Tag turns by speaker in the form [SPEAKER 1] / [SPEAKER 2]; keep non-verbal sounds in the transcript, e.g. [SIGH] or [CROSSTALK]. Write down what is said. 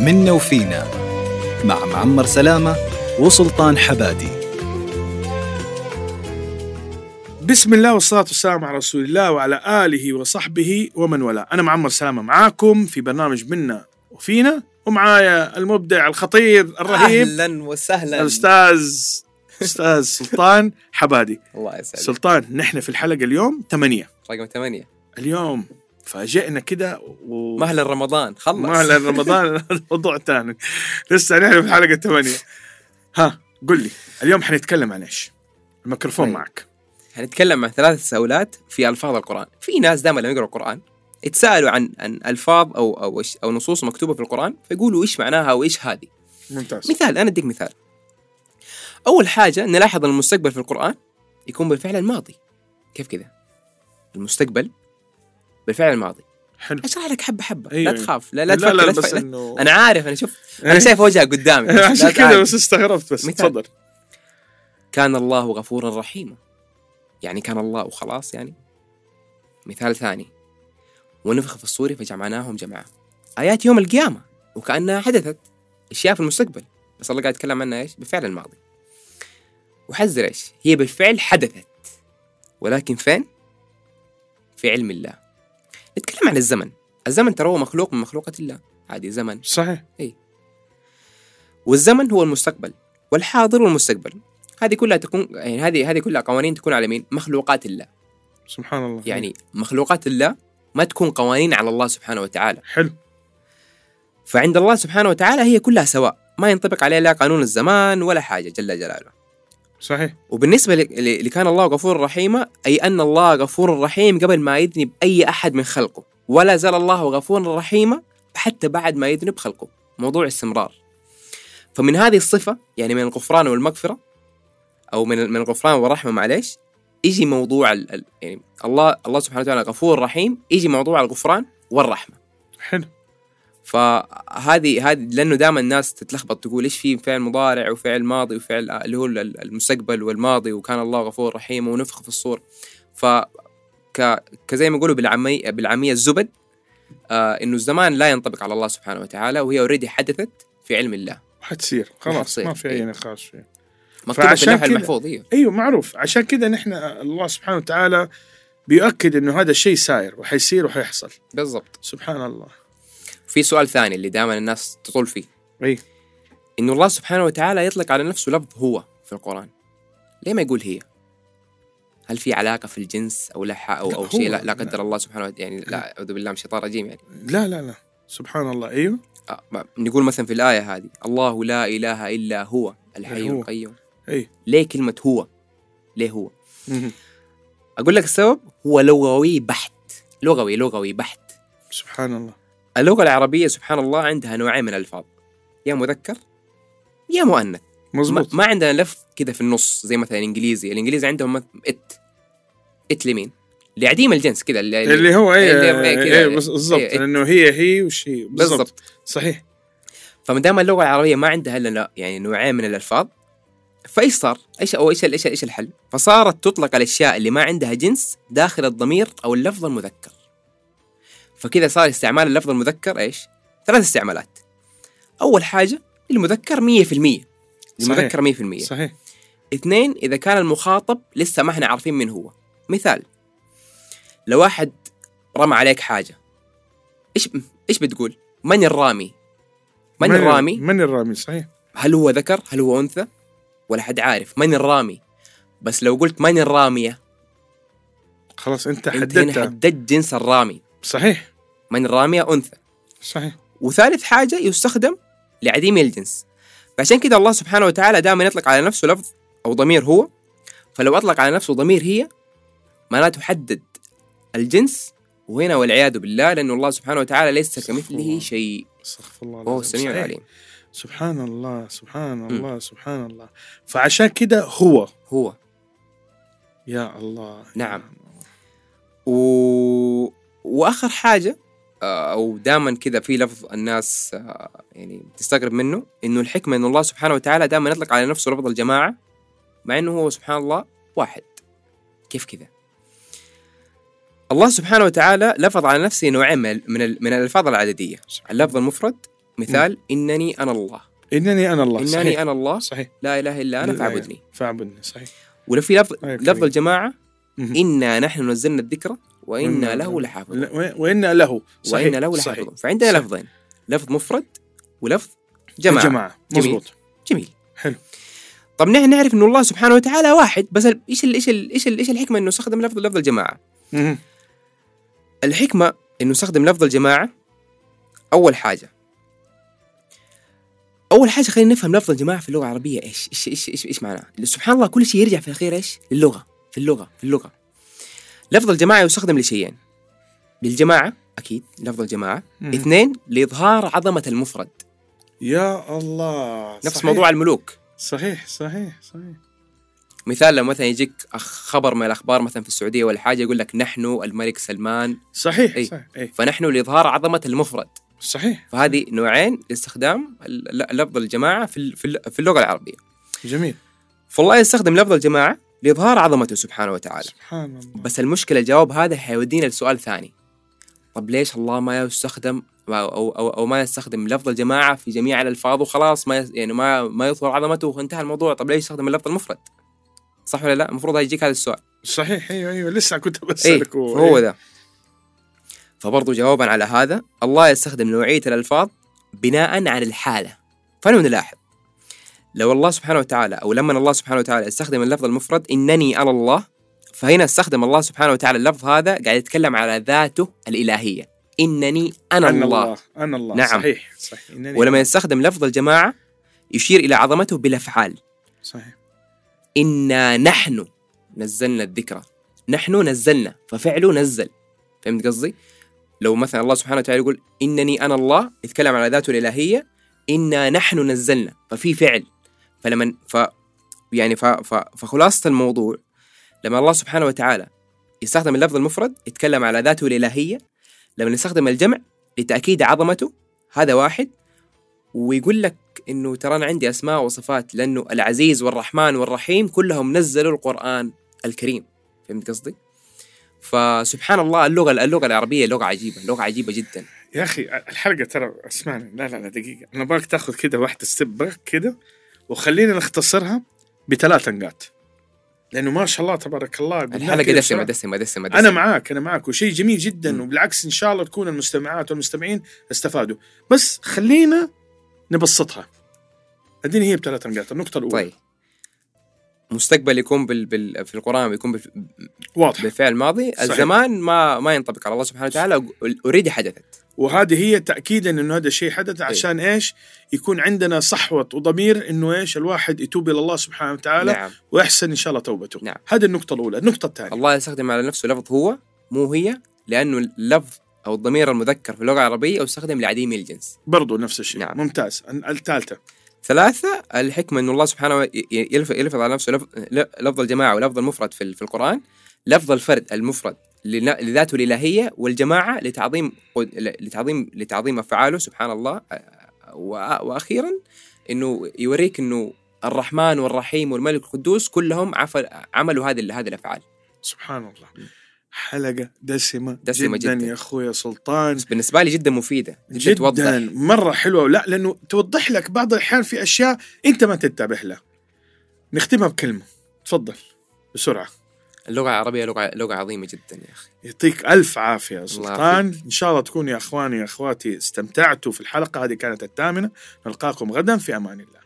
[SPEAKER 1] منا وفينا مع معمر سلامة وسلطان حبادي
[SPEAKER 2] بسم الله والصلاة والسلام على رسول الله وعلى آله وصحبه ومن والاه أنا معمر سلامة معاكم في برنامج منا وفينا ومعايا المبدع الخطير الرهيب
[SPEAKER 3] اهلا وسهلا
[SPEAKER 2] الأستاذ
[SPEAKER 3] [LAUGHS]
[SPEAKER 2] أستاذ سلطان حبادي
[SPEAKER 3] الله يسعدك
[SPEAKER 2] سلطان نحن في الحلقة اليوم ثمانية
[SPEAKER 3] رقم ثمانية
[SPEAKER 2] اليوم فاجئنا كده و...
[SPEAKER 3] مهلا رمضان خلص
[SPEAKER 2] مهلا
[SPEAKER 3] [LAUGHS]
[SPEAKER 2] رمضان [LAUGHS] موضوع ثاني لسه نحن في الحلقة الثمانية ها قل لي اليوم حنتكلم عن ايش؟ الميكروفون
[SPEAKER 3] طيب.
[SPEAKER 2] معك
[SPEAKER 3] هنتكلم عن ثلاث تساؤلات في الفاظ القران في ناس دائما لما يقرأوا القران يتساءلوا عن عن الفاظ او او إيش- او نصوص مكتوبه في القران فيقولوا ايش معناها وايش هذه
[SPEAKER 2] ممتاز
[SPEAKER 3] مثال انا اديك مثال اول حاجه نلاحظ ان المستقبل في القران يكون بالفعل الماضي كيف كذا المستقبل بالفعل الماضي
[SPEAKER 2] حلو
[SPEAKER 3] اشرح لك حبه حبه
[SPEAKER 2] أيوة.
[SPEAKER 3] لا تخاف لا لا تفكر لا,
[SPEAKER 2] بس
[SPEAKER 3] تفكر.
[SPEAKER 2] انه
[SPEAKER 3] انا عارف انا شفت انا شايف وجهك قدامي بس لا
[SPEAKER 2] [LAUGHS] عشان كذا
[SPEAKER 3] تعال.
[SPEAKER 2] بس استغربت بس
[SPEAKER 3] مثال.
[SPEAKER 2] تفضل
[SPEAKER 3] كان الله غفورا رحيما يعني كان الله وخلاص يعني مثال ثاني ونفخ في الصور فجمعناهم جمعا آيات يوم القيامة وكأنها حدثت أشياء في المستقبل بس الله قاعد يتكلم عنها إيش بالفعل الماضي وحذر إيش هي بالفعل حدثت ولكن فين في علم الله نتكلم عن الزمن الزمن ترى هو مخلوق من مخلوقات الله عادي زمن
[SPEAKER 2] صحيح
[SPEAKER 3] والزمن هو المستقبل والحاضر والمستقبل هذه كلها تكون يعني هذه هذه كلها قوانين تكون على مين؟ مخلوقات الله،
[SPEAKER 2] سبحان الله
[SPEAKER 3] يعني مخلوقات الله ما تكون قوانين على الله سبحانه وتعالى،
[SPEAKER 2] حلو
[SPEAKER 3] فعند الله سبحانه وتعالى هي كلها سواء، ما ينطبق عليه لا قانون الزمان ولا حاجه جل جلاله.
[SPEAKER 2] صحيح
[SPEAKER 3] وبالنسبه ل- ل- لكان الله غفورا رحيما اي ان الله غفور رحيم قبل ما يذنب اي احد من خلقه، ولا زال الله غفورا رحيما حتى بعد ما يذنب خلقه، موضوع استمرار. فمن هذه الصفه يعني من الغفران والمغفره او من من الغفران والرحمه معليش يجي موضوع ال ال- يعني الله الله سبحانه وتعالى غفور رحيم يجي موضوع الغفران والرحمه.
[SPEAKER 2] حلو
[SPEAKER 3] فهذه هذه لانه دائما الناس تتلخبط تقول ايش في فعل مضارع وفعل ماضي وفعل آه، اللي هو ال- المستقبل والماضي وكان الله غفور رحيم ونفخ في الصور ف ك كزي ما يقولوا بالعاميه بالعاميه الزبد آه انه الزمان لا ينطبق على الله سبحانه وتعالى وهي اوريدي حدثت في علم الله
[SPEAKER 2] حتصير خلاص
[SPEAKER 3] حتصير.
[SPEAKER 2] ما في
[SPEAKER 3] إيه.
[SPEAKER 2] اي نقاش فيه
[SPEAKER 3] مكتوبه في
[SPEAKER 2] فعشان
[SPEAKER 3] اللوح
[SPEAKER 2] كده-
[SPEAKER 3] المحفوظ إيه، هي
[SPEAKER 2] ايوه معروف عشان كذا نحن الله سبحانه وتعالى بيؤكد انه هذا الشيء ساير وحيصير وحيحصل
[SPEAKER 3] بالضبط
[SPEAKER 2] سبحان الله
[SPEAKER 3] في سؤال ثاني اللي دائما الناس تطول فيه
[SPEAKER 2] اي
[SPEAKER 3] انه الله سبحانه وتعالى يطلق على نفسه لفظ هو في القران ليه ما يقول هي هل في علاقه في الجنس او لا ح- او
[SPEAKER 2] لا،
[SPEAKER 3] او
[SPEAKER 2] هو-
[SPEAKER 3] شيء لا, لا
[SPEAKER 2] لا. إيه.
[SPEAKER 3] قدر الله سبحانه وتعالى يعني لا اعوذ بالله من الشيطان الرجيم يعني
[SPEAKER 2] لا لا لا سبحان الله ايوه
[SPEAKER 3] آه ما- نقول مثلا في الايه هذه الله لا اله الا هو الحي
[SPEAKER 2] هو. إيه.
[SPEAKER 3] القيوم
[SPEAKER 2] اي
[SPEAKER 3] ليه كلمه هو ليه هو اقول لك السبب هو لغوي بحت لغوي لغوي بحت
[SPEAKER 2] سبحان الله
[SPEAKER 3] اللغه العربيه سبحان الله عندها نوعين من الالفاظ يا مذكر يا مؤنث ما,
[SPEAKER 2] مزبوط
[SPEAKER 3] ما عندنا لف كذا في النص زي مثلا الانجليزي الانجليزي عندهم مث- ات ات لمين لعديم الجنس كذا اللي,
[SPEAKER 2] اللي هو اي
[SPEAKER 3] اللي- كده.
[SPEAKER 2] اي بس- بالضبط
[SPEAKER 3] إيه، إيه.
[SPEAKER 2] لانه هي هي وش هي بالضبط
[SPEAKER 3] بالضبط
[SPEAKER 2] صحيح
[SPEAKER 3] فما دام اللغه العربيه ما عندها الا لا- يعني نوعين من الالفاظ فايش صار؟ ايش او ايش ايش ايش الحل؟ فصارت تطلق على الاشياء اللي ما عندها جنس داخل الضمير او اللفظ المذكر. فكذا صار استعمال اللفظ المذكر ايش؟ ثلاث استعمالات. اول حاجه المذكر 100% المذكر 100%
[SPEAKER 2] صحيح
[SPEAKER 3] اثنين إذا كان المخاطب لسه ما احنا عارفين من هو مثال لو واحد رمى عليك حاجة إيش إيش بتقول من الرامي من الرامي
[SPEAKER 2] من الرامي صحيح
[SPEAKER 3] هل هو ذكر هل هو أنثى ولا حد عارف من الرامي بس لو قلت من الرامية
[SPEAKER 2] خلاص انت
[SPEAKER 3] انت هنا
[SPEAKER 2] حددتها
[SPEAKER 3] حددت جنس الرامي
[SPEAKER 2] صحيح
[SPEAKER 3] من الرامية أنثى
[SPEAKER 2] صحيح
[SPEAKER 3] وثالث حاجة يستخدم لعديم الجنس فعشان كده الله سبحانه وتعالى دائما يطلق على نفسه لفظ أو ضمير هو فلو أطلق على نفسه ضمير هي معناته حدد الجنس وهنا والعياذ بالله لأن الله سبحانه وتعالى ليس كمثله شيء
[SPEAKER 2] استغفر الله
[SPEAKER 3] وهو
[SPEAKER 2] العظيم. إيه.
[SPEAKER 3] السميع
[SPEAKER 2] صحيح.
[SPEAKER 3] العليم
[SPEAKER 2] سبحان الله سبحان الله سبحان الله فعشان كده هو
[SPEAKER 3] هو
[SPEAKER 2] يا الله
[SPEAKER 3] نعم. و... وآخر حاجة آه، أو دائما كذا في لفظ الناس آه، يعني تستغرب منه إنه الحكمة إن الله سبحانه وتعالى دائما يطلق على نفسه لفظ الجماعة مع إنه هو سبحان الله واحد كيف كذا؟ الله سبحانه وتعالى لفظ على نفسه نوعين من ال- من, ال- من الألفاظ العددية اللفظ المفرد مثال إنني أنا الله
[SPEAKER 2] انني انا الله صحيح.
[SPEAKER 3] إنني أنا الله
[SPEAKER 2] صحيح
[SPEAKER 3] لا إله إلا أنا فاعبدني
[SPEAKER 2] فاعبدني صحيح
[SPEAKER 3] ولو في لفظ
[SPEAKER 2] أيوة،
[SPEAKER 3] لفظ
[SPEAKER 2] كريم.
[SPEAKER 3] الجماعة
[SPEAKER 2] مهم.
[SPEAKER 3] إنا نحن نزلنا الذكر وإنا
[SPEAKER 2] وإنا
[SPEAKER 3] له
[SPEAKER 2] له-
[SPEAKER 3] لحافظون
[SPEAKER 2] لا، و- وإنا له صحيح
[SPEAKER 3] وإنا له
[SPEAKER 2] صحيح.
[SPEAKER 3] لحافظون فعندنا
[SPEAKER 2] صحيح.
[SPEAKER 3] لفظين لفظ مفرد ولفظ جماعة
[SPEAKER 2] الجماعة
[SPEAKER 3] جميل.
[SPEAKER 2] مضبوط
[SPEAKER 3] جميل
[SPEAKER 2] حلو.
[SPEAKER 3] طب نحن نعرف ان الله سبحانه وتعالى واحد بس ال- ايش ال- ايش ال- ايش ال- ايش الحكمه انه استخدم لفظ لفظ الجماعه؟
[SPEAKER 2] مهم.
[SPEAKER 3] الحكمه انه استخدم لفظ الجماعه اول حاجه اول حاجه خلينا نفهم لفظ الجماعه في اللغه العربيه ايش ايش ايش ايش, إيش معناه؟ سبحان الله كل شيء يرجع في الاخير ايش؟ للغه في اللغه في اللغه لفظ الجماعه يستخدم لشيئين للجماعه اكيد لفظ الجماعه
[SPEAKER 2] مهم.
[SPEAKER 3] اثنين لاظهار عظمه المفرد
[SPEAKER 2] يا الله
[SPEAKER 3] نفس
[SPEAKER 2] صحيح.
[SPEAKER 3] موضوع الملوك
[SPEAKER 2] صحيح صحيح صحيح
[SPEAKER 3] مثال لو مثلا يجيك أخ- خبر من الاخبار مثلا في السعوديه ولا حاجه يقول لك نحن الملك سلمان
[SPEAKER 2] صحيح
[SPEAKER 3] إي.
[SPEAKER 2] صحيح إي.
[SPEAKER 3] فنحن لاظهار عظمه المفرد
[SPEAKER 2] صحيح
[SPEAKER 3] فهذه نوعين لاستخدام ال- ل- لفظ الجماعه في ال- في ال- في اللغه العربيه
[SPEAKER 2] جميل
[SPEAKER 3] فالله يستخدم لفظ الجماعه لاظهار عظمته سبحانه وتعالى
[SPEAKER 2] سبحان الله
[SPEAKER 3] بس المشكله الجواب هذا حيودينا لسؤال ثاني طب ليش الله ما يستخدم أو- او او, أو ما يستخدم لفظ الجماعه في جميع الالفاظ وخلاص ما يس- يعني ما ما يظهر عظمته وانتهى الموضوع طب ليش يستخدم اللفظ المفرد صح ولا لا المفروض يجيك هذا السؤال
[SPEAKER 2] صحيح ايوه ايوه لسه كنت
[SPEAKER 3] ايه
[SPEAKER 2] بسالك
[SPEAKER 3] فهو ذا فبرضو جوابا على هذا الله يستخدم نوعية الألفاظ بناء على الحالة فنحن نلاحظ لو الله سبحانه وتعالى أو لما الله سبحانه وتعالى استخدم اللفظ المفرد إنني أنا الله فهنا استخدم الله سبحانه وتعالى اللفظ هذا قاعد يتكلم على ذاته الإلهية إنني أنا
[SPEAKER 2] انا
[SPEAKER 3] الله,
[SPEAKER 2] الله انا الله
[SPEAKER 3] نعم.
[SPEAKER 2] صحيح صحيح إنني
[SPEAKER 3] ولما يستخدم لفظ الجماعة يشير إلى عظمته بالأفعال
[SPEAKER 2] صحيح
[SPEAKER 3] إنا نحن نزلنا الذكرى نحن نزلنا ففعله نزل فهمت قصدي؟ لو مثلا الله سبحانه وتعالى يقول إنني أنا الله يتكلم على ذاته الإلهية إنا نحن نزلنا ففي فعل فلما ف يعني ف... ف... فخلاصة الموضوع لما الله سبحانه وتعالى يستخدم اللفظ المفرد يتكلم على ذاته الإلهية لما يستخدم الجمع لتأكيد عظمته هذا واحد ويقول لك انه ترى انا عندي اسماء وصفات لانه العزيز والرحمن والرحيم كلهم نزلوا القران الكريم فهمت قصدي؟ فسبحان الله اللغه اللغه العربيه لغه عجيبه لغه عجيبه جدا
[SPEAKER 2] يا اخي الحلقه ترى اسمعني لا لا لا دقيقه انا باك تاخذ كده واحده ستيب باك كده وخلينا نختصرها بثلاث نقاط لانه ما شاء الله تبارك الله قلناها
[SPEAKER 3] الحلقه
[SPEAKER 2] كده
[SPEAKER 3] دسمه
[SPEAKER 2] بسرعة.
[SPEAKER 3] دسمه دسمه دسمه
[SPEAKER 2] انا معاك انا معاك وشيء جميل
[SPEAKER 3] مم.
[SPEAKER 2] جدا وبالعكس ان شاء الله تكون المستمعات والمستمعين استفادوا بس خلينا نبسطها اديني هي بثلاث نقاط النقطه الاولى
[SPEAKER 3] طيب مستقبل يكون بال... بال... في القران بيكون بال...
[SPEAKER 2] واضح
[SPEAKER 3] بالفعل ماضي
[SPEAKER 2] صحيح.
[SPEAKER 3] الزمان ما ما ينطبق على الله سبحانه وتعالى اوريدي حدثت
[SPEAKER 2] وهذه هي تاكيدا انه هذا الشيء حدث
[SPEAKER 3] طيب.
[SPEAKER 2] عشان ايش يكون عندنا صحوه وضمير انه ايش الواحد يتوب الى الله سبحانه وتعالى
[SPEAKER 3] نعم
[SPEAKER 2] ويحسن ان شاء الله توبته
[SPEAKER 3] نعم.
[SPEAKER 2] هذه النقطه الاولى النقطه الثانيه
[SPEAKER 3] الله يستخدم على نفسه لفظ هو مو هي لانه اللفظ او الضمير المذكر في اللغه العربيه يستخدم لعديم الجنس
[SPEAKER 2] برضو نفس الشيء
[SPEAKER 3] نعم.
[SPEAKER 2] نعم. ممتاز الثالثه
[SPEAKER 3] ثلاثة الحكمة أن الله سبحانه ي- ي- يلف- يلفظ على نفسه لف- ل- لفظ الجماعة ولفظ المفرد في ال- في القرآن لفظ الفرد المفرد لنا- لذاته الإلهية والجماعة لتعظيم قد- ل- لتعظيم لتعظيم أفعاله سبحان الله أ- وأ- وأخيرا أنه يوريك أنه الرحمن والرحيم والملك القدوس كلهم عف- عملوا هذه ال- هذه الأفعال
[SPEAKER 2] سبحان الله حلقه دسمه,
[SPEAKER 3] دسمة
[SPEAKER 2] دسمة جدا,
[SPEAKER 3] جداً.
[SPEAKER 2] يا اخويا سلطان
[SPEAKER 3] بس بالنسبة لي جدا مفيدة جدا توضح
[SPEAKER 2] جدا مره حلوه لا لانه توضح لك بعض الاحيان في اشياء انت ما تنتبه لها نختمها بكلمه تفضل بسرعه
[SPEAKER 3] اللغة العربية لغة لغة عظيمة جدا يا أخي
[SPEAKER 2] يعطيك الف عافيه يا سلطان ان شاء الله تكونوا يا اخواني يا اخواتي استمتعتوا في الحلقه هذه كانت الثامنه نلقاكم غدا في امان الله